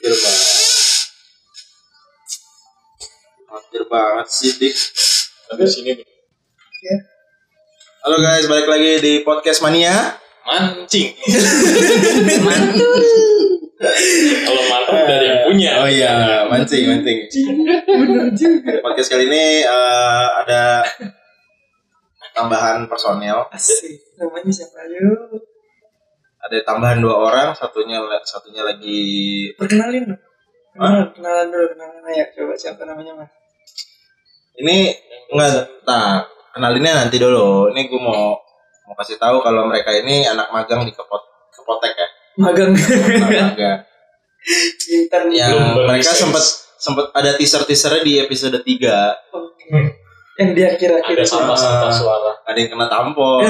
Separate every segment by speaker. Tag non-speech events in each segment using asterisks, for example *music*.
Speaker 1: Gerbang. Hampir banget sih, Dik.
Speaker 2: Tapi sini nih.
Speaker 1: Halo guys, balik lagi di Podcast Mania.
Speaker 2: mancing. Kalau mantap udah ada yang punya.
Speaker 1: Oh iya, mancing, mancing. Podcast kali ini eh, ada tambahan personel.
Speaker 3: *laughs* Asik. Namanya siapa yuk?
Speaker 1: Ada tambahan dua orang, satunya satunya lagi
Speaker 3: Perkenalin dong.
Speaker 1: Hah?
Speaker 3: Kenalan, kenalan dulu, kenalan ayo coba siapa namanya mas?
Speaker 1: ini nggak nah kenalinnya nanti dulu ini gue mau mau kasih tahu kalau mereka ini anak magang di kepot kepotek ya
Speaker 3: Magang *laughs*
Speaker 1: anak magang
Speaker 3: Intern
Speaker 1: yang
Speaker 2: Belum berlisensi.
Speaker 1: Iya, mereka sempat sempat ada teaser teasernya di episode 3
Speaker 3: Oke. Eh, Yang dia kira-kira
Speaker 2: Ada sampah-sampah suara.
Speaker 1: ada yang kena
Speaker 2: *laughs*
Speaker 1: tampol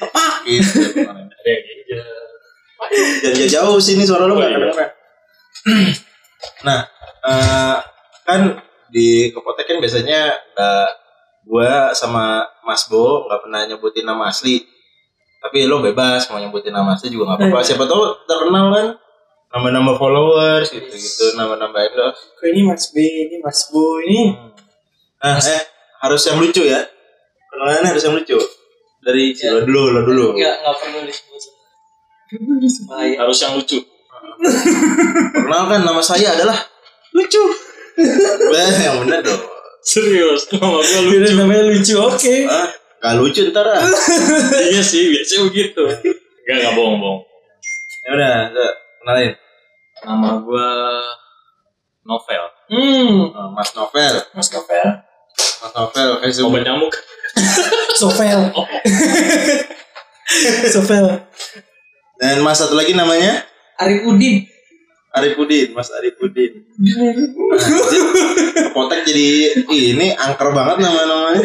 Speaker 1: apa gitu kemarin.
Speaker 2: Ada yang gini.
Speaker 1: jangan jauh, jauh sini suara lu nggak
Speaker 2: Oh, iya.
Speaker 1: kedengeran. *clears throat* nah eh, kan di kepotek kan biasanya eh, gua sama Mas Bo nggak pernah nyebutin nama asli tapi lo bebas mau nyebutin nama asli juga nggak apa-apa
Speaker 3: Iya.
Speaker 1: siapa tahu terkenal kan nama-nama followers gitu gitu nama-nama endorse
Speaker 3: Kok ini mas B, ini mas Bu, ini
Speaker 1: nah eh harus yang lucu ya kenalannya harus yang lucu dari lo dulu lo dulu
Speaker 4: Ya. Enggak, enggak perlu disebut. Bahaya.
Speaker 2: Harus yang lucu.
Speaker 1: perkenalkan nama saya adalah
Speaker 4: *laughs*
Speaker 1: lucu Wah, yang bener dong
Speaker 2: Serius, *laughs* nama gue
Speaker 3: Dia
Speaker 2: lucu.
Speaker 3: namanya lucu, oke
Speaker 1: ah gak lucu ntar ah
Speaker 2: iya sih, biasanya begitu. Enggak, enggak bohong-bohong.
Speaker 1: ya udah udah, kenalin
Speaker 2: Nama gue Novel.
Speaker 3: Hmm,
Speaker 1: Oh, Mas Novel
Speaker 3: Mas Novel
Speaker 1: Mas Novel eh, kayak sebut
Speaker 2: Obat nyamuk.
Speaker 3: Sovel *laughs* Sovel
Speaker 1: dan Mas satu lagi namanya
Speaker 3: Arif Udin
Speaker 1: Arifudin Mas Arifudin Potek jadi ih, ini angker banget nama-namanya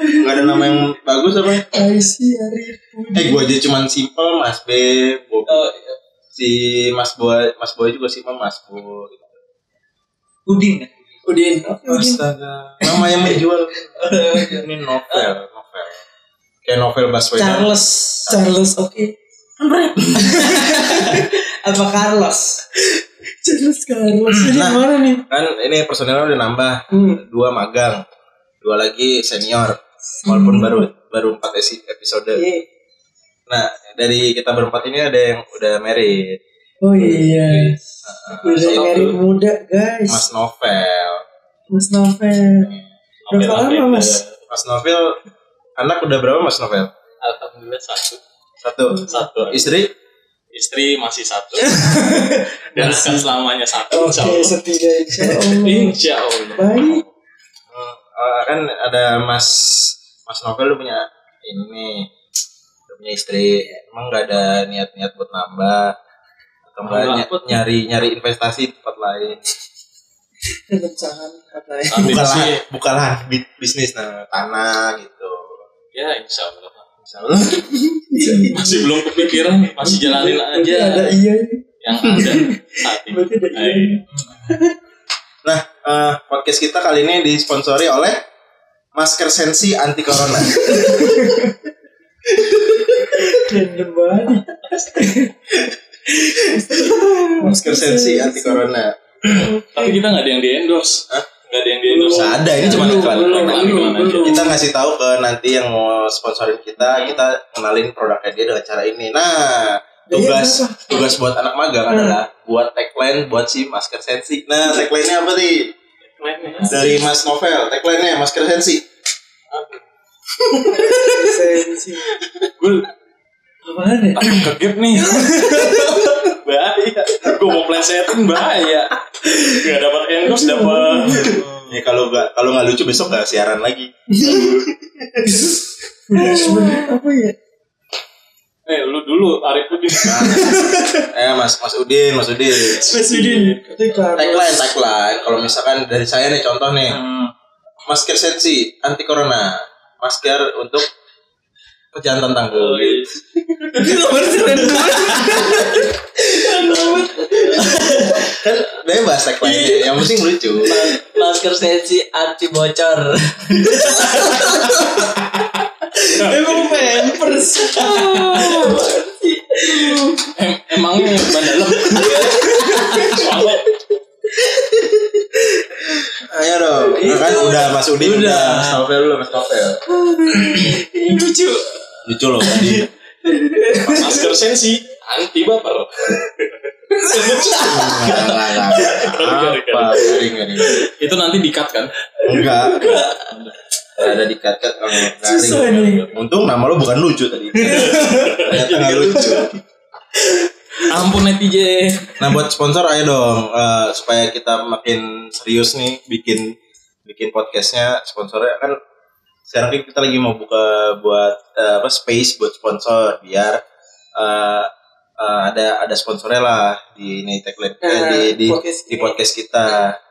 Speaker 1: nggak ada nama yang bagus apa ya?
Speaker 3: I see Arif
Speaker 1: eh
Speaker 3: Udin
Speaker 1: gua aja cuman simple Mas B Bo-
Speaker 4: Oh,
Speaker 1: si Mas Boy Mas Boy juga simple Mas Bo
Speaker 4: Udin.
Speaker 3: Udin Oke, Udin
Speaker 1: Astaga nama yang menjual ini novel novel kayak novel Baswedan
Speaker 4: Charles.
Speaker 3: Charles, oke
Speaker 4: Apa Carlos?
Speaker 3: Charles Carlos Ini
Speaker 1: Nah.
Speaker 3: mana nih?
Speaker 1: kan ini personelnya udah nambah
Speaker 3: Hmm.
Speaker 1: dua magang dua lagi senior walaupun baru baru empat esi- episode
Speaker 3: Hmm. Iya.
Speaker 1: nah dari kita berempat ini ada yang udah married
Speaker 3: Oh iya. Udah
Speaker 1: Satu.
Speaker 3: married muda
Speaker 1: mas
Speaker 3: guys.
Speaker 1: novel
Speaker 3: Mas Novel. Berapa
Speaker 2: Novel-novel.
Speaker 3: lama, Mas?
Speaker 1: mas novel anak udah berapa mas novel
Speaker 2: Alhamdulillah satu.
Speaker 1: satu
Speaker 3: Hmm.
Speaker 2: Satu.
Speaker 1: istri
Speaker 2: Istri masih satu. Dan akan selamanya satu.
Speaker 3: Oke,
Speaker 2: insya Allah.
Speaker 3: setiga
Speaker 1: *laughs*
Speaker 3: insya
Speaker 1: Iya.
Speaker 3: Allah.
Speaker 2: Insya Allah.
Speaker 1: Eh,
Speaker 3: Baik.
Speaker 1: kan ada mas mas novel lu punya ini nih, lu punya istri emang gak ada niat niat buat nambah atau nggak
Speaker 2: Nambah
Speaker 1: ny-
Speaker 2: apa tuh?
Speaker 1: nyari nyari investasi di tempat lain
Speaker 3: Dalam tangan
Speaker 1: *laughs*
Speaker 3: katanya.
Speaker 2: Tapi
Speaker 1: bukan
Speaker 2: sih,
Speaker 1: lah- bukan lah bi- bisnis nah, tanah gitu
Speaker 2: ya insya Allah.
Speaker 1: Insyaallah
Speaker 2: Masih belum kepikiran, masih jalanin aja
Speaker 3: Berarti
Speaker 2: Ya,
Speaker 3: Ada iya.
Speaker 2: yang ada saat ini.
Speaker 3: Berarti ada iya.
Speaker 2: Hai.
Speaker 1: Nah, eh, podcast kita kali ini disponsori oleh masker sensi anti corona. *laughs*
Speaker 3: Random banget.
Speaker 1: masker sensi anti corona.
Speaker 2: Tapi kita nggak ada yang di endorse.
Speaker 1: Hah?
Speaker 2: Nggak ada yang di endorse.
Speaker 1: Nggak ada, ini cuma
Speaker 2: Belum,
Speaker 1: iklan.
Speaker 2: belum,
Speaker 1: Iklan,
Speaker 2: belum,
Speaker 3: iklan aja.
Speaker 2: belum.
Speaker 1: Kita ngasih tahu ke nanti yang mau sponsorin kita, kita kenalin produknya dia dengan cara ini. Nah, tugas tugas buat anak magang adalah buat tagline buat si masker sensi. Nah, tagline-nya apa nih? Dari Mas Novel, tagline-nya masker sensi.
Speaker 3: Sensi.
Speaker 2: Gue
Speaker 3: Apaan ya?
Speaker 2: kegep *laughs* nih. bahaya. Gue mau plesetin bahaya. Gak dapat endorse dapat.
Speaker 1: Ya kalau nggak kalau nggak lucu besok nggak siaran lagi.
Speaker 3: Flashback. Apa ya?
Speaker 2: Eh lu dulu Arif *laughs* Udin.
Speaker 1: Nah, eh Mas Mas Udin, Mas Udin.
Speaker 3: Mas Udin. Katanya
Speaker 1: tagline
Speaker 3: Carlos.
Speaker 1: tagline kalau misalkan dari saya nih contoh nih
Speaker 2: Hmm.
Speaker 1: masker sensi anti corona masker untuk pejantan tanggul
Speaker 2: Oh,
Speaker 3: Gila, berarti random banget.
Speaker 1: kan bebas tagline yang penting lucu
Speaker 4: Masker sensi anti bocor. Emang pampers.
Speaker 2: Em emangnya yang ban dalam. Soalnya
Speaker 1: Ayo dong. Nah, kan udah Mas Udin udah. Mas Novel dulu Mas Novel.
Speaker 4: Ini lucu.
Speaker 1: Lucu loh *laughs* tadi.
Speaker 2: masker sensi anti baper.
Speaker 1: Enggak, enggak, enggak. Apa? Garing, garing.
Speaker 2: Itu nanti dikat kan?
Speaker 1: Enggak. Nggak Ada dikat-kat oh,
Speaker 3: Susah
Speaker 1: garing.
Speaker 3: nih.
Speaker 1: Untung nama lo bukan lucu *laughs* tadi. Ternyata nggak lucu.
Speaker 2: Ampun netizen.
Speaker 1: Nah buat sponsor ayo dong eh, supaya kita makin serius nih bikin bikin podcastnya sponsornya kan sekarang ini kita lagi mau buka buat eh, apa space buat sponsor biar eh, eh, ada ada sponsornya lah di ini tagline eh,
Speaker 4: Nah,
Speaker 1: di di,
Speaker 4: podcast
Speaker 1: di
Speaker 4: ini.
Speaker 1: podcast kita.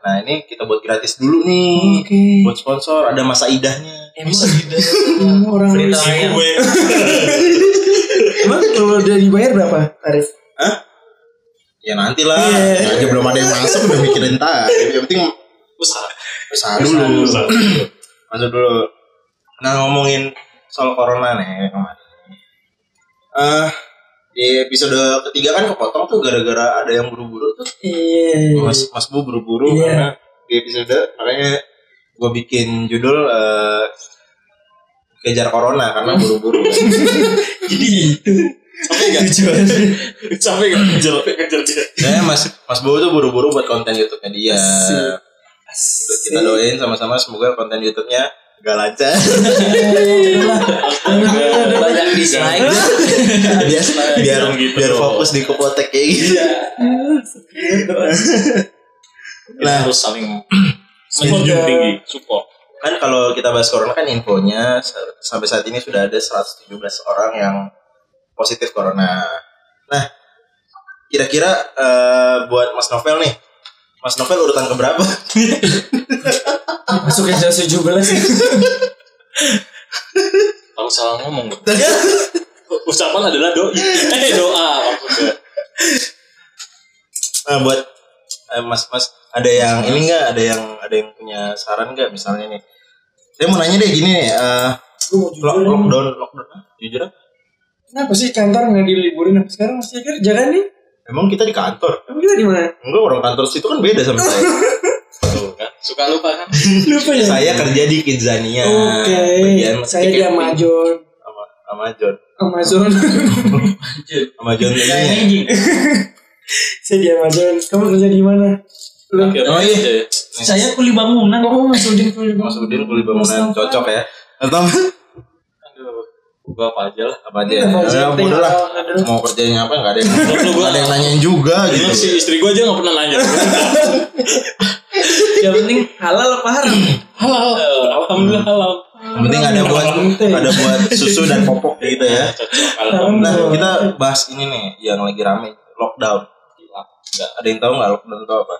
Speaker 1: Nah ini kita buat gratis dulu nih buat sponsor ada masa idahnya.
Speaker 3: Emang orang
Speaker 2: Ibu gue.
Speaker 3: Emang kalau udah dibayar berapa tarif?
Speaker 1: Ya nantilah
Speaker 3: Iya.
Speaker 1: aja belum ada yang masuk udah mikirin tar. Yang penting
Speaker 2: Usaha.
Speaker 1: usaha dulu.
Speaker 2: Usaha.
Speaker 1: *clears throat* Masuk dulu. Nah ngomongin soal corona nih kemarin. Eh di episode ketiga kan kepotong tuh gara-gara ada yang buru-buru tuh.
Speaker 3: Iya.
Speaker 1: Mas Mas Bu buru-buru
Speaker 3: Iya.
Speaker 1: karena di episode makanya gue bikin judul eh, kejar corona karena
Speaker 3: *laughs*
Speaker 1: buru-buru.
Speaker 2: Capek gak? Iya. Capek gak? Kejar, kejar dia.
Speaker 1: Saya Mas Mas Bu tuh buru-buru buat konten YouTube-nya dia.
Speaker 3: Asik.
Speaker 1: Kita
Speaker 3: Iya.
Speaker 1: doain sama-sama semoga konten YouTube-nya gak lancar.
Speaker 2: Banyak dislike.
Speaker 1: Iya. *laughs* biar biar,
Speaker 2: Jangan gitu
Speaker 1: biar
Speaker 2: dong.
Speaker 1: fokus di kepotek kayak gitu.
Speaker 2: Kita harus saling menjunjung tinggi, support.
Speaker 1: kan kalau kita bahas corona kan infonya sa- sampai saat ini sudah ada 117 orang yang positif corona. Nah, kira-kira eh, buat Mas Novel nih, Mas Novel urutan keberapa? *laughs*
Speaker 3: Masuk ke jam 17 ya.
Speaker 2: Kalau salah ngomong. Ucapan adalah doa. Eh doa maksudnya.
Speaker 1: Nah, buat eh, Mas Mas ada yang ini nggak? Ada yang ada yang punya saran nggak misalnya nih? Saya mau nanya deh gini nih, eh, lock- lockdown, lockdown, ah, jujur ah,
Speaker 3: Kenapa sih kantor nggak diliburin? Sekarang masih kerja kan nih?
Speaker 1: emang kita di kantor?
Speaker 3: Emang kita di mana?
Speaker 1: Enggak orang kantor situ kan beda sama saya.
Speaker 2: Tuh kan, Suka lupa kan?
Speaker 3: Lupa ya.
Speaker 1: saya kerja di Kidzania.
Speaker 3: Oke.
Speaker 1: bagian
Speaker 3: Saya di
Speaker 1: marketing.
Speaker 3: Amazon.
Speaker 1: sama sama John
Speaker 3: Amazon. *laughs*
Speaker 1: sama John ini
Speaker 3: saya di Amazon. Kamu kerja di mana? Lu.
Speaker 1: Oh, iya.
Speaker 2: gitu ya.
Speaker 4: Saya kuli bangunan.
Speaker 3: Oh, Mas Udin kuliah.
Speaker 1: Mas Udin kulit bangunan
Speaker 3: Mas Novel.
Speaker 1: cocok ya atau
Speaker 2: Aduh, gua apa aja lah.
Speaker 1: apa aja ya Eh, bodoh lah mau kerjanya apa nggak ada yang
Speaker 2: Lu
Speaker 1: nggak
Speaker 2: gua-
Speaker 1: ada yang nanyain juga
Speaker 2: Emang
Speaker 1: gitu
Speaker 2: si istri gua aja gak pernah nanya.
Speaker 4: Yang penting halal apa haram?
Speaker 2: Halal. Alhamdulillah halal.
Speaker 1: yang penting ada buat
Speaker 3: Penting.
Speaker 1: ada buat susu dan popok gitu ya
Speaker 2: Cocok. Alhamdulillah.
Speaker 1: nah kita bahas ini nih yang lagi rame lockdown Nggak, ada yang tahu nggak lockdown itu apa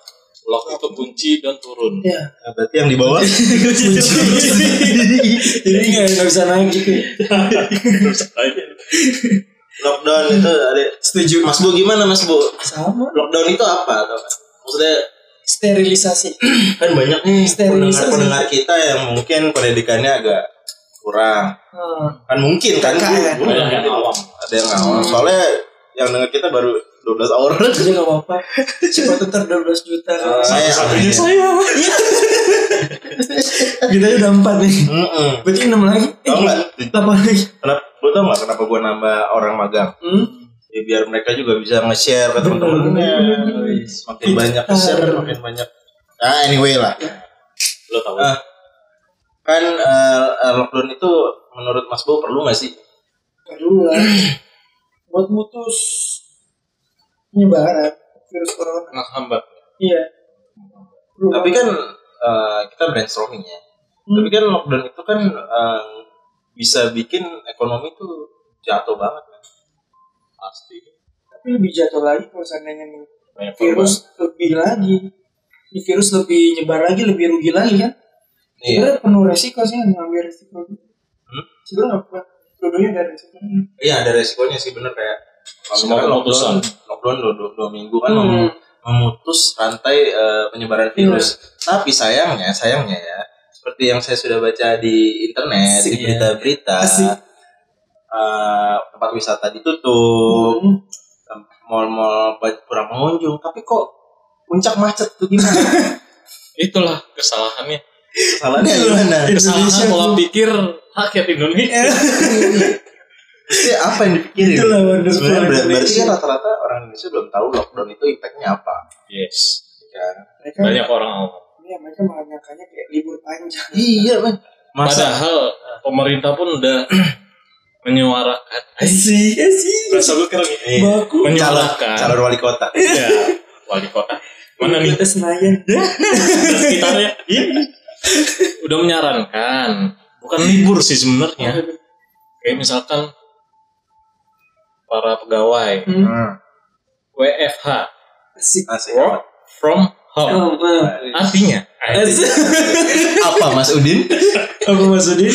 Speaker 2: Lock itu kunci dan turun.
Speaker 3: Ya.
Speaker 1: Nah, berarti yang di bawah
Speaker 3: Jadi nggak nggak bisa naik gitu.
Speaker 1: *laughs* lockdown itu ada
Speaker 3: Setuju.
Speaker 1: Mas Bu gimana Mas Bu
Speaker 3: Sama.
Speaker 1: lockdown itu apa atau apa? maksudnya
Speaker 3: Sterilisasi.
Speaker 1: kan banyak nih
Speaker 3: Sterilisasi.
Speaker 1: pendengar-pendengar kita yang mungkin pendidikannya agak kurang
Speaker 3: Hmm.
Speaker 1: kan mungkin kan
Speaker 3: Kan.
Speaker 1: Bu?
Speaker 2: Banyak yang awam.
Speaker 1: ada yang ngawal soalnya yang dengar kita baru 12 orang
Speaker 3: Jadi nggak apa-apa. Cepat tetap 12 juta.
Speaker 1: Ah, saya
Speaker 3: Iya,
Speaker 2: Satu-satunya
Speaker 1: saya
Speaker 3: Kita udah 4 nih.
Speaker 1: Mm-mm.
Speaker 3: Berarti 6 lagi. Eh,
Speaker 1: tau nggak
Speaker 3: 8 lagi.
Speaker 1: kenapa lu tau nggak kenapa gue nambah orang magang
Speaker 3: Hmm.
Speaker 1: Ya, biar mereka juga bisa nge-share ke
Speaker 3: Bener,
Speaker 1: temen-temennya
Speaker 3: bener, bener.
Speaker 1: makin banyak nge-share makin banyak ah anyway lah
Speaker 2: Lo tau.
Speaker 1: Ah, kan eh, eh, lockdown itu menurut Mas Bo perlu nggak sih
Speaker 3: Kedua, buat mutus penyebaran virus corona.
Speaker 2: Anak hamba.
Speaker 3: Iya. Perlu.
Speaker 1: tapi kan eh, kita brainstorming ya
Speaker 3: Hmm.
Speaker 1: tapi kan lockdown itu kan eh, bisa bikin ekonomi tuh jatuh banget kan
Speaker 2: Pasti.
Speaker 3: tapi lebih jatuh lagi kalau seandainya nih
Speaker 2: Banyak korban.
Speaker 3: virus lebih lagi. Ini virus lebih nyebar lagi, lebih rugi lagi kan? Sebenarnya penuh resiko sih yang ngambil resiko.
Speaker 1: Iya. Hmm?
Speaker 3: Sebenarnya apa? Dua-duanya ada resiko.
Speaker 1: Iya ada resikonya sih bener kayak kalau
Speaker 2: Semua
Speaker 1: misalkan
Speaker 2: keputusan.
Speaker 1: lockdown, lockdown dua, dua, dua minggu kan
Speaker 3: Hmm. Iya.
Speaker 1: mem- memutus rantai eh, penyebaran virus. Tapi sayangnya, sayangnya ya, seperti yang saya sudah baca di internet,
Speaker 3: Asik
Speaker 1: di berita-berita,
Speaker 3: Asik.
Speaker 1: eh, tempat wisata ditutup,
Speaker 3: Hmm.
Speaker 1: tem- mall-mall ba- kurang pengunjung. Tapi kok puncak macet tuh gimana?
Speaker 2: Itulah kesalahannya.
Speaker 1: Kesalahannya
Speaker 3: Iya,
Speaker 1: gimana?
Speaker 2: Kesalahan pola pikir rakyat
Speaker 3: Iya.
Speaker 2: Indonesia.
Speaker 1: Maksudnya apa yang dipikirin?
Speaker 3: Itulah wonder
Speaker 1: Sebenarnya ber-
Speaker 3: flower
Speaker 1: berarti
Speaker 3: Indonesia.
Speaker 1: kan rata-rata orang Indonesia belum tahu lockdown itu impact-nya apa.
Speaker 2: Yes.
Speaker 1: Kan?
Speaker 3: mereka
Speaker 2: Banyak orang awam.
Speaker 3: ya, mereka mengatakannya kayak libur panjang
Speaker 1: Iya, men. Masa
Speaker 2: Padahal
Speaker 3: Nah.
Speaker 2: pemerintah pun udah *clears throat* menyuarakan.
Speaker 3: sih ya sih
Speaker 2: Rasa gue keren ya.
Speaker 1: Iya. calon,
Speaker 3: baku
Speaker 2: Menyuarakan.
Speaker 1: calon wali kota.
Speaker 2: Ya,
Speaker 3: Iya.
Speaker 2: wali kota. Mana nih
Speaker 3: kita senayan
Speaker 2: sekitarnya? Iya. Udah menyarankan. Bukan libur sih
Speaker 3: Iya.
Speaker 2: sebenarnya. Kayak misalkan para pegawai
Speaker 1: Hmm. Ah,
Speaker 2: WFH
Speaker 3: sih
Speaker 1: Asik.
Speaker 2: work from home.
Speaker 3: oh, ah.
Speaker 2: Artinya,
Speaker 3: Asik.
Speaker 1: Apa Mas Udin?
Speaker 3: apa maksudnya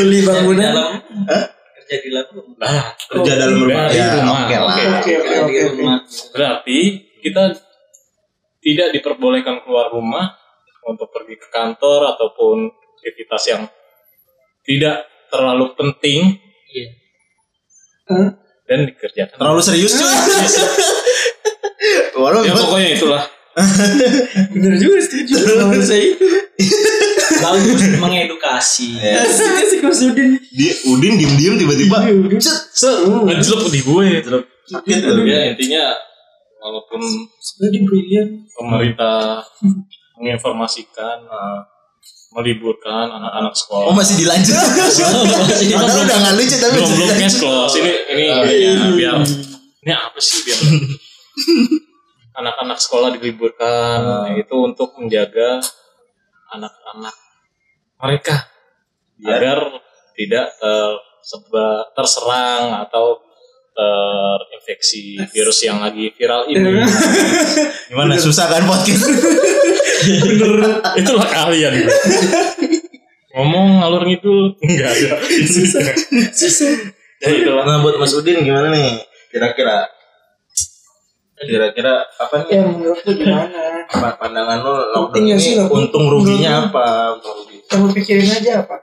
Speaker 3: beli bangunan
Speaker 4: dalam
Speaker 1: Hah?
Speaker 4: kerja di dalam rumah.
Speaker 2: nah,
Speaker 1: Kerja dalam rumah.
Speaker 2: Dari
Speaker 1: Ya,
Speaker 2: rumah.
Speaker 1: oke lah.
Speaker 2: Oke.
Speaker 3: oke oke
Speaker 4: Di
Speaker 3: oke
Speaker 4: rumah.
Speaker 2: berarti kita tidak diperbolehkan keluar rumah untuk pergi ke kantor ataupun aktivitas yang tidak terlalu penting
Speaker 4: Iya.
Speaker 3: Hah?
Speaker 2: dan dikerjakan.
Speaker 1: Terlalu serius cuy. Walau
Speaker 2: Ya pokoknya itulah.
Speaker 3: bener juga setuju sama saya itu
Speaker 4: Bagus mengedukasi.
Speaker 1: Ya.
Speaker 3: asik asik mas Udin
Speaker 1: Dia- Udin diem-diem tiba-tiba
Speaker 3: Iya, Hmm. Udin.
Speaker 2: Ngejlep di gue.
Speaker 1: sakit loh.
Speaker 2: Ya intinya walaupun
Speaker 3: sebenarnya dia brilian
Speaker 2: pemerintah menginformasikan eh, meliburkan anak-anak sekolah.
Speaker 1: Oh masih dilanjut. Padahal udah nggak lucu tapi
Speaker 2: belum belum
Speaker 1: masih
Speaker 2: cash
Speaker 1: dilanjut.
Speaker 2: close ini ini ya, biar ini apa sih biar anak-anak sekolah diliburkan ya, itu untuk menjaga anak-anak mereka
Speaker 1: Biar-
Speaker 2: agar tidak tersebar terserang atau terinfeksi virus yang lagi viral ini *laughs*
Speaker 1: Gimana susah kan podcast?
Speaker 2: itulah kalian ngomong ngalur ngidul enggak ada ya itulah
Speaker 1: Nah buat Mas Udin gimana nih? Kira-kira kira-kira apa nih
Speaker 3: ya menurut lu gimana
Speaker 1: pa- pandangan lo lockdown
Speaker 3: Penting ya sih,
Speaker 1: ini
Speaker 3: lockdown.
Speaker 1: untung ruginya apa? Untung ruginya.
Speaker 3: kamu pikirin aja apa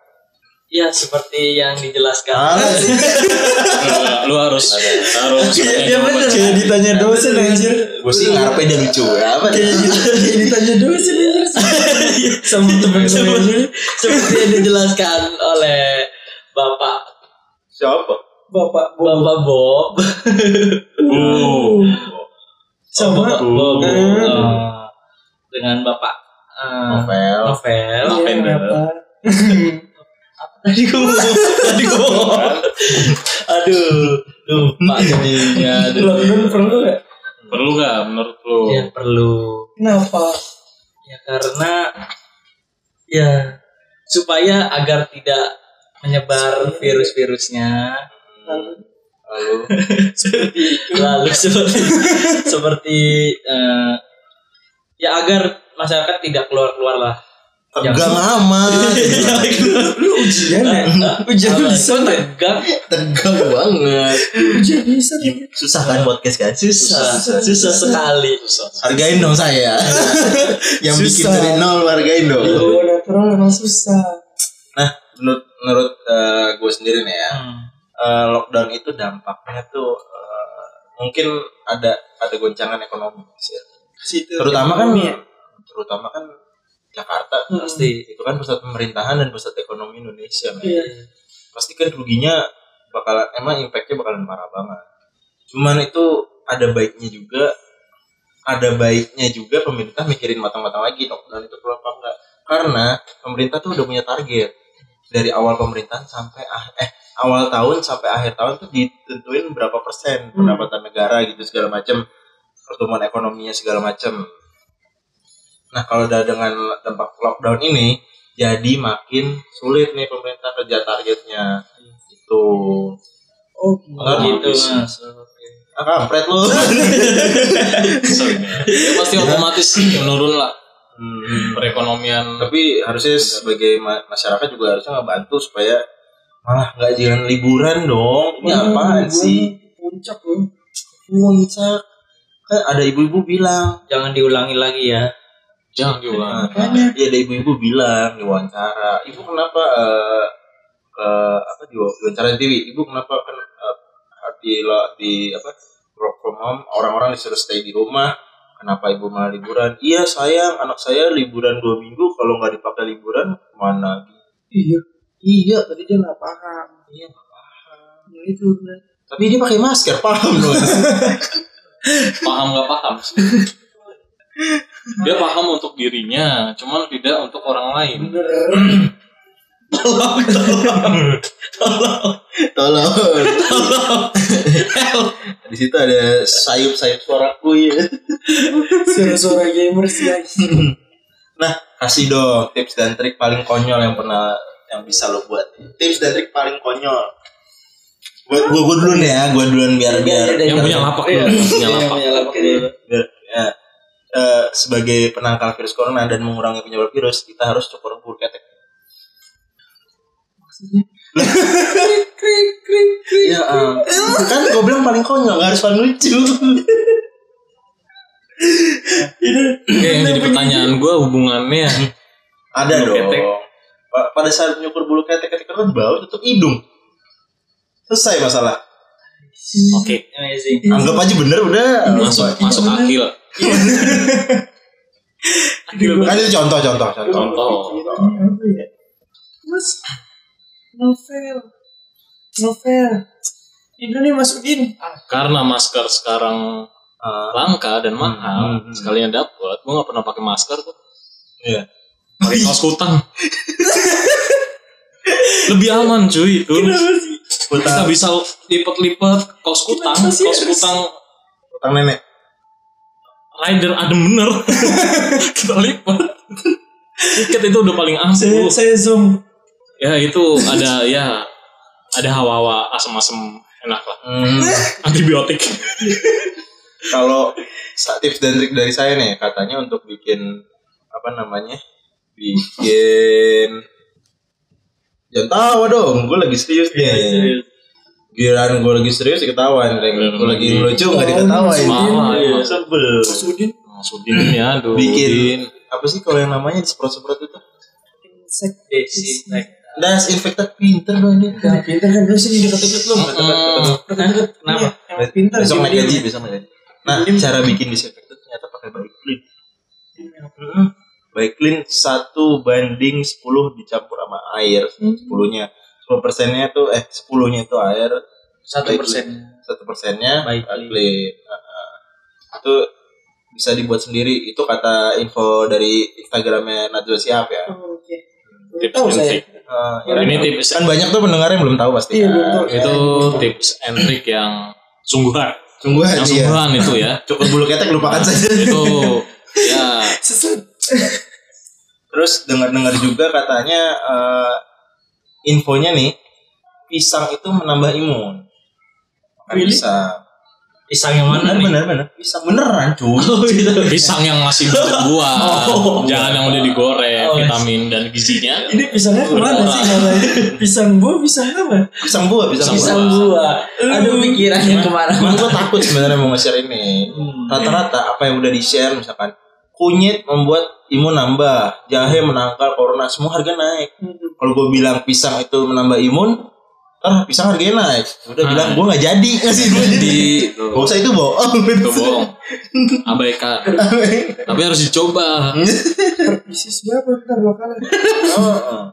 Speaker 4: Ya seperti yang dijelaskan.
Speaker 1: Alah, *laughs*
Speaker 2: lu harus harus
Speaker 4: Iya,
Speaker 3: kayak ditanya dosen *laughs* anjir
Speaker 1: gue sih ngarepnya dia lucu ya, apa
Speaker 3: kayak gitu kayak ditanya dosen anjir Iya. sama temen-temen
Speaker 4: Seperti yang dijelaskan oleh Bapak
Speaker 1: siapa
Speaker 3: bapak
Speaker 4: Bapak Bob.
Speaker 2: Uh.
Speaker 3: sama
Speaker 4: Bapak Bob.
Speaker 3: Hmm.
Speaker 4: eh, Dengan Bapak eh,
Speaker 1: Ah. novel
Speaker 4: Novel.
Speaker 3: Iya,
Speaker 2: Lavender.
Speaker 3: apa?
Speaker 4: Tadi gua tadi gua Aduh, lupa jadinya. Aduh.
Speaker 3: lockdown perlu gak?
Speaker 2: ya, perlu nggak menurut lu
Speaker 4: Ya perlu
Speaker 3: kenapa?
Speaker 4: Ya karena ya supaya agar tidak menyebar virus-virusnya
Speaker 1: lalu
Speaker 4: lalu *laughs* seperti seperti eh, ya agar masyarakat tidak keluar-keluar lah.
Speaker 1: tegang *laughs* amat Iya.
Speaker 3: lu ujian ya? ujian
Speaker 4: Apa?
Speaker 3: bisa gak?
Speaker 4: Tegang
Speaker 1: tegang banget
Speaker 3: ujian bisa gak?
Speaker 1: susah kan podcast kan
Speaker 4: susah, susah sekali.
Speaker 1: hargain dong saya Iya. *laughs* yang bikin
Speaker 3: Susah.
Speaker 1: dari nol hargain dong
Speaker 3: Oh, natural emang susah.
Speaker 1: nah menurut menurut gue sendiri nih ya
Speaker 4: Hmm.
Speaker 1: eh, lockdown itu dampaknya tuh eh, mungkin ada ada goncangan ekonomi sih
Speaker 3: Situ.
Speaker 1: terutama kan terutama kan Jakarta
Speaker 4: Pasti.
Speaker 1: itu kan pusat pemerintahan dan pusat ekonomi Indonesia men.
Speaker 3: Iya.
Speaker 1: pasti kan ruginya bakalan emang impactnya bakalan parah banget cuman itu ada baiknya juga ada baiknya juga pemerintah mikirin matang-matang lagi lockdown itu perlu apa enggak karena pemerintah tuh udah punya target dari awal pemerintahan sampai ah- eh awal tahun sampai akhir tahun tuh ditentuin berapa persen pendapatan negara gitu segala macam pertumbuhan ekonominya segala macam nah kalau udah dengan dampak lockdown ini jadi makin sulit nih pemerintah kerja targetnya Gitu. itu Oh,
Speaker 3: Oh,
Speaker 2: Nah,
Speaker 4: gitu
Speaker 1: habis.
Speaker 4: mas.
Speaker 1: ah kampret lu
Speaker 2: Ya, pasti otomatis menurun lah
Speaker 1: Hmm.
Speaker 2: perekonomian
Speaker 1: tapi harusnya sebagai ma- masyarakat juga harusnya ngebantu supaya malah nggak jangan liburan dong ini apaan sih
Speaker 3: Puncak lu.
Speaker 1: puncak kan ada ibu-ibu bilang Nah,
Speaker 4: Jangan diulangi lagi ya.
Speaker 2: jangan diulang
Speaker 1: iya ada ibu-ibu bilang diwawancara ibu kenapa eh, ke apa di wawancara di TV ibu kenapa kan eh, di la- di apa work from home orang-orang disuruh stay di rumah kenapa ibu malah liburan iya sayang anak saya liburan dua minggu kalau nggak dipakai liburan kemana
Speaker 3: Iya. Iya, tadi dia nggak paham. Iya, nggak paham. Ya itu benar.
Speaker 1: tapi dia pakai masker *laughs* paham dong
Speaker 2: paham nggak paham sih. dia paham untuk dirinya cuman tidak untuk orang lain
Speaker 3: Bener.
Speaker 1: *laughs* tolong di situ ada sayup-sayup suaraku ya
Speaker 3: Suara-suara gamers guys.
Speaker 1: Nah, kasih dong tips dan trik paling konyol yang pernah yang bisa lo buat. Tips dan trik paling konyol. Gue gue gue dulu nih ya, gue duluan biar biar.
Speaker 2: yang punya lapak dulu yang punya lapak
Speaker 4: Iya, punya lapak dulu.
Speaker 1: biar ya. Eh, sebagai penangkal virus corona dan mengurangi penyebar virus, kita harus cukur bulu ketek.
Speaker 3: Maksudnya. Krik, krik, krik, krik.
Speaker 1: Iya, kan gue bilang paling konyol, gak harus paling lucu.
Speaker 2: Oke, yang jadi pertanyaan gue hubungannya
Speaker 1: Ada
Speaker 2: Bulu
Speaker 1: dong.
Speaker 2: ketek.
Speaker 1: Pa- Pada saat menyukur bulu kan ketek, ketika lo bau tutup hidung. Selesai masalah.
Speaker 2: oke
Speaker 4: Amazing.
Speaker 2: Iya.
Speaker 1: Anggap aja bener udah.
Speaker 2: masuk masuk akil
Speaker 1: Ah. Kan itu contoh-contoh. Contoh.
Speaker 2: contoh
Speaker 3: Pikirannya apa ya? Mas, novel. Novel. Ini nih masukin. Ah,
Speaker 2: karena masker sekarang
Speaker 1: Ah,
Speaker 2: langka dan mahal
Speaker 1: Hmm.
Speaker 2: sekalian dapat gue nggak pernah pakai masker tuh
Speaker 1: Iya.
Speaker 2: pakai kaos kutang lebih aman cuy itu kita bisa lipat-lipat kaos kutang
Speaker 3: Kenapa sih
Speaker 2: kaos
Speaker 3: harus-
Speaker 2: kutang
Speaker 1: utang nenek.
Speaker 2: rider adem bener *laughs* kita lipat tiket itu udah paling
Speaker 3: saya,
Speaker 2: ampuh
Speaker 3: saya zoom.
Speaker 2: ya itu ada ya ada hawa-hawa asem-asem enak lah
Speaker 1: *laughs*
Speaker 2: antibiotik
Speaker 1: Hmm. Kalau sa- tips dan trik dari saya nih, katanya untuk bikin apa namanya? Bikin Jangan tawa dong, gue lagi serius nih. Giliran gue lagi serius diketawain, gue lagi lucu nggak diketawain.
Speaker 2: Malah,
Speaker 1: Iya,
Speaker 2: malah.
Speaker 1: sebel.
Speaker 3: Mas Udin.
Speaker 2: maksudin ya aduh
Speaker 1: Hmm.
Speaker 2: Udin.
Speaker 1: Bikin apa sih kalau yang namanya disemprot-semprot itu?
Speaker 3: Insek.
Speaker 1: Das infektan pinter dong dia.
Speaker 3: Yang pinter kan lu sini deket-deket lu.
Speaker 2: Mm-mm.
Speaker 3: Deket-deket.
Speaker 4: Kenapa?
Speaker 3: Iya, Yang pinter.
Speaker 1: Besok
Speaker 3: sih,
Speaker 1: naik
Speaker 3: Udin.
Speaker 1: gaji, besok naik gaji. Nah, cara bikin disinfektan ternyata pakai baik clean. Baik clean 1 banding 10 dicampur sama air 10-nya. 10 persennya tuh eh 10-nya itu air,
Speaker 4: Satu persen.
Speaker 1: 1 persennya
Speaker 4: Baik
Speaker 1: baik clean. Nah, nah. itu bisa dibuat sendiri. Itu kata info dari Instagramnya Najwa Siap ya.
Speaker 3: Oh, Oke.
Speaker 2: tips
Speaker 3: Tahu
Speaker 2: and
Speaker 3: saya.
Speaker 2: trick
Speaker 1: Eh, Ira,
Speaker 3: ya.
Speaker 2: ini
Speaker 1: kan
Speaker 2: tips
Speaker 1: banyak tuh pendengar yang belum tahu pasti. Nah,
Speaker 3: Iya, belum tahu.
Speaker 2: itu tips and trick yang sungguhan
Speaker 1: Sungguh
Speaker 2: yang
Speaker 1: aja. ya.
Speaker 2: sungguhan itu ya
Speaker 1: Cukup bulu ketek lupakan saja.
Speaker 2: itu ya
Speaker 3: Sesat.
Speaker 1: Terus dengar-dengar juga katanya eh, infonya nih pisang itu menambah imun. Makan
Speaker 3: Really?
Speaker 1: pisang.
Speaker 4: Pisang yang
Speaker 1: Bener
Speaker 4: mana nih? Oh, iya.
Speaker 1: bener bener. Pisang beneran cuy.
Speaker 2: pisang yang masih berbuah jangan yang udah digoreng
Speaker 3: Oh, iya.
Speaker 2: vitamin dan gizinya
Speaker 3: Ini pisangnya kemana sih? Kalau Pisang buah, pisang apa?
Speaker 1: Pisang buah, pisang,
Speaker 2: Pisang
Speaker 1: buah.
Speaker 4: Pisang gua. Ada pikiran yang kemana?
Speaker 1: Cuman gue takut sebenarnya mau nge-share ini. Rata-rata apa yang udah di-share misalkan kunyit membuat imun nambah, jahe menangkal corona, semua harga naik. Kalau gue bilang pisang itu menambah imun, ah pisang harganya naik. Udah
Speaker 2: Ah.
Speaker 1: bilang gue nggak jadi ngasih gue jadi.
Speaker 2: di
Speaker 1: Gak usah itu bohong. *laughs*
Speaker 2: itu bohong abaikan tapi harus dicoba
Speaker 3: Isis berapa ntar bakalan?
Speaker 1: Heeh.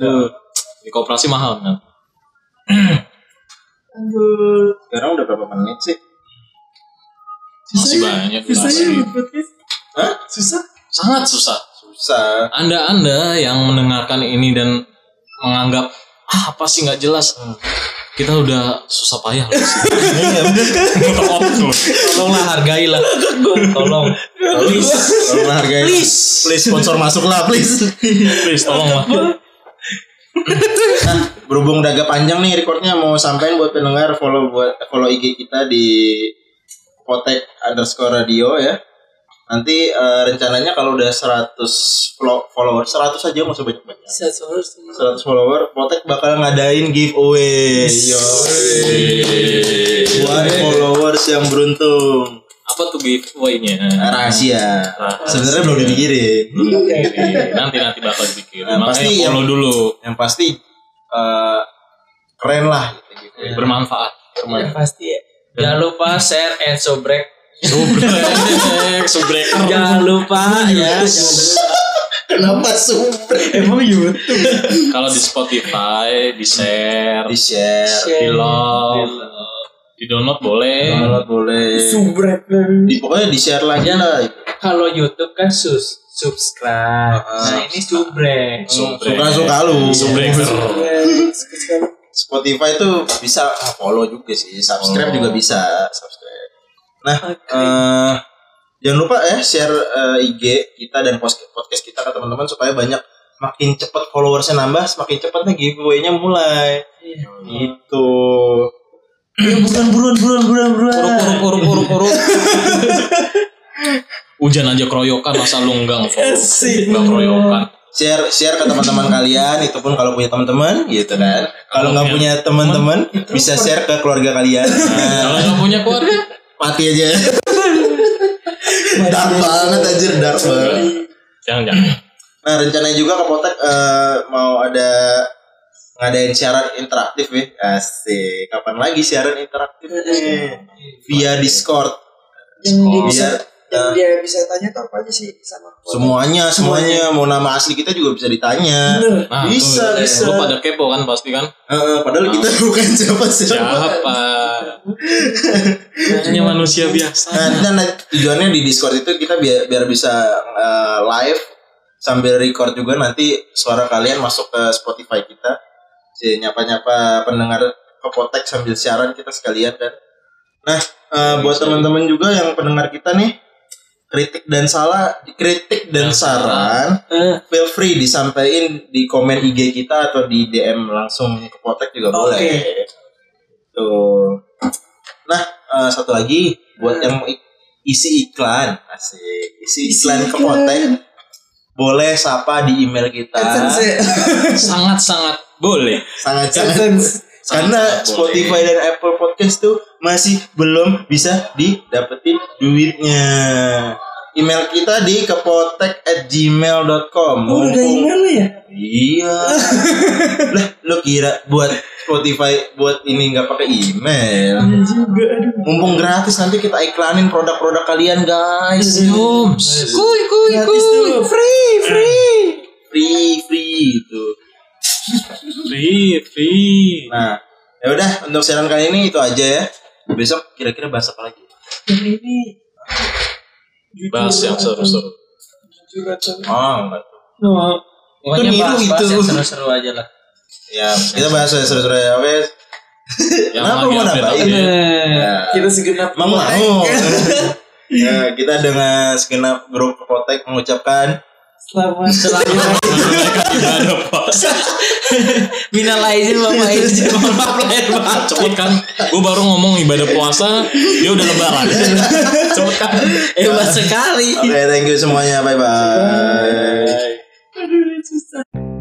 Speaker 2: Aduh. di koperasi mahal kan
Speaker 3: Aduh.
Speaker 1: Sekarang udah berapa menit sih?
Speaker 2: masih
Speaker 3: Susah ya?
Speaker 2: banyak
Speaker 3: Susah ya
Speaker 2: durasi.
Speaker 3: buat podcast?
Speaker 1: Hah?
Speaker 3: Susah?
Speaker 2: sangat susah
Speaker 1: Susah.
Speaker 2: anda anda yang mendengarkan ini dan menganggap ah apa sih nggak jelas kita udah susah payah loh
Speaker 1: Hmm. *laughs* Iya, bener.
Speaker 4: Tolonglah hargailah. Tolong.
Speaker 1: Please, tolong hargain. Please, sponsor masuk lah, please.
Speaker 2: please tolonglah
Speaker 1: Nah, berhubung udah agak panjang nih recordnya mau sampein buat pendengar follow buat follow IG kita di potek underscore radio ya. Nanti eh, rencananya kalau udah 100 flo- follower, 100 aja nggak usah banyak-banyak.
Speaker 3: Bisa suara semua.
Speaker 1: 100 follower, Potek bakal ngadain giveaway. Yo. Buat followers yang beruntung.
Speaker 2: apa tuh giveaway-nya
Speaker 1: Rahasia.
Speaker 2: Rahasia.
Speaker 1: Sebenarnya belum dipikirin.
Speaker 2: nanti nanti bakal dikirim
Speaker 1: Nah,
Speaker 2: makanya
Speaker 1: pasti
Speaker 2: follow dulu
Speaker 1: Yang pasti eh keren lah gitu, gitu.
Speaker 2: bermanfaat
Speaker 3: Ya, pasti ya.
Speaker 4: Jangan lupa share and subrek.
Speaker 1: *laughs*
Speaker 2: subrek subrek
Speaker 4: Jangan lupa ya.
Speaker 1: kenapa subrek
Speaker 3: Emang YouTube.
Speaker 2: kalau di Spotify di share
Speaker 1: di share
Speaker 2: di love di download boleh
Speaker 1: kalau boleh
Speaker 3: Subrek.
Speaker 1: di, pokoknya di share lagi lah
Speaker 4: Kalau YouTube kan sus subscribe.
Speaker 2: Ah,
Speaker 4: Nah, ini subrek.
Speaker 2: Subrek.
Speaker 1: suka suka lu
Speaker 2: Subreker.
Speaker 1: Spotify tuh bisa ah, follow juga sih subscribe
Speaker 2: Follow.
Speaker 1: juga bisa subscribe nah Oh. eh, jangan lupa ya share eh, IG kita dan pos- podcast kita ke teman-teman supaya banyak makin cepat followersnya nambah semakin cepat nih giveaway-nya mulai gitu Ya, buruan buruan buruan buruan buruan
Speaker 2: Uruk, uruk, uruk, uruk,
Speaker 4: *laughs*
Speaker 2: uruk. Hujan aja keroyokan masa lu enggak nge-follow? Enggak keroyokan.
Speaker 1: share share ke *laughs* teman-teman kalian itu pun kalau punya teman-teman gitu kan kalau nggak punya teman-teman bisa share ke keluarga *laughs* kalian Nah,
Speaker 2: Kalau enggak punya keluarga,
Speaker 1: mati aja dark banget anjir dark banget
Speaker 2: jangan jangan.
Speaker 1: nah rencananya juga Kapotek eh, mau ada ngadain siaran interaktif ya asik kapan lagi siaran interaktif nih? via Discord
Speaker 3: Yang dia bisa
Speaker 1: Biar-
Speaker 3: yang dia bisa tanya tuh apa aja sih sama
Speaker 1: semuanya semuanya mau nama asli kita juga bisa ditanya
Speaker 3: Bener.
Speaker 2: Nah,
Speaker 1: Bisa,
Speaker 2: tuh,
Speaker 1: bisa.
Speaker 2: Lu pada kepo kan pasti kan?
Speaker 1: Eh, padahal kita
Speaker 3: Nah.
Speaker 1: bukan siapa siapa *laughs*
Speaker 2: Siapa? Hanya manusia biasa.
Speaker 1: Nah, kita na- tujuannya di Discord itu kita biar, biar bisa eh, live sambil record juga nanti suara kalian masuk ke Spotify kita. Jadi nyapa-nyapa pendengar kepotek sambil siaran kita sekalian kan. Nah, eh, buat teman-teman juga yang pendengar kita nih kritik dan salah, kritik dan saran
Speaker 4: Eh,
Speaker 1: feel free disampaikan di komen IG kita atau di DM langsung kepotek juga boleh.
Speaker 3: Oke.
Speaker 1: Tuh. Nah, eh, satu lagi buat yang mau ik- isi iklan, asik. Isi,
Speaker 3: Isi
Speaker 1: iklan
Speaker 3: iklan.
Speaker 1: kepotek boleh sapa di email kita.
Speaker 3: ya?
Speaker 2: Sangat-sangat boleh.
Speaker 1: Sangat sangat karena
Speaker 2: sangat
Speaker 1: Spotify dan Apple Podcast tuh masih belum bisa didapetin duitnya. Email kita di kepotek@gmail.com.
Speaker 3: Oh, udah ada
Speaker 1: Mumpung-
Speaker 3: email lu ya? *laughs*
Speaker 1: Iya. lah, lo kira buat Spotify buat ini nggak pakai email?
Speaker 3: Ada Iya juga aduh.
Speaker 1: Mumpung gratis nanti kita iklanin produk-produk kalian
Speaker 3: Iya,
Speaker 1: guys.
Speaker 2: Kuy, kuy,
Speaker 3: Gratis tuh. Free, free.
Speaker 1: Free free gitu. itu.
Speaker 2: Free, free.
Speaker 1: Nah, ya udah untuk siaran kali ini itu aja ya. Besok kira-kira bahas apa lagi?
Speaker 3: Yang ini jujur
Speaker 2: Bahas yang
Speaker 3: atau-
Speaker 2: seru-seru.
Speaker 3: Jujur atau
Speaker 1: Oh, enggak.
Speaker 3: No.
Speaker 1: Itu
Speaker 4: Pokoknya bahas,
Speaker 1: niru
Speaker 2: gitu.
Speaker 4: bahas
Speaker 1: itu.
Speaker 4: yang seru-seru aja lah.
Speaker 1: Ya, kita bahas ya seru-seru ya. Oke.
Speaker 2: Yang
Speaker 1: Kenapa
Speaker 2: lagi
Speaker 1: mau nambahin?
Speaker 2: update-update.
Speaker 1: Ya.
Speaker 3: Nah, Kita segenap
Speaker 1: Emang mau.
Speaker 3: Iya.
Speaker 1: *laughs* Ya, kita dengan segenap grup Kotek mengucapkan
Speaker 3: *laughs* selamat
Speaker 4: Selamat
Speaker 2: Gak ada pak.
Speaker 4: minal aizin
Speaker 2: Iya.
Speaker 4: bapak izin mohon maaf lahir batin.
Speaker 2: Cepet kan? Gue baru ngomong ibadah puasa, dia udah lebaran. Cepet kan?
Speaker 4: Hebat sekali.
Speaker 1: Oke, thank you semuanya. Bye bye.
Speaker 3: Aduh, susah.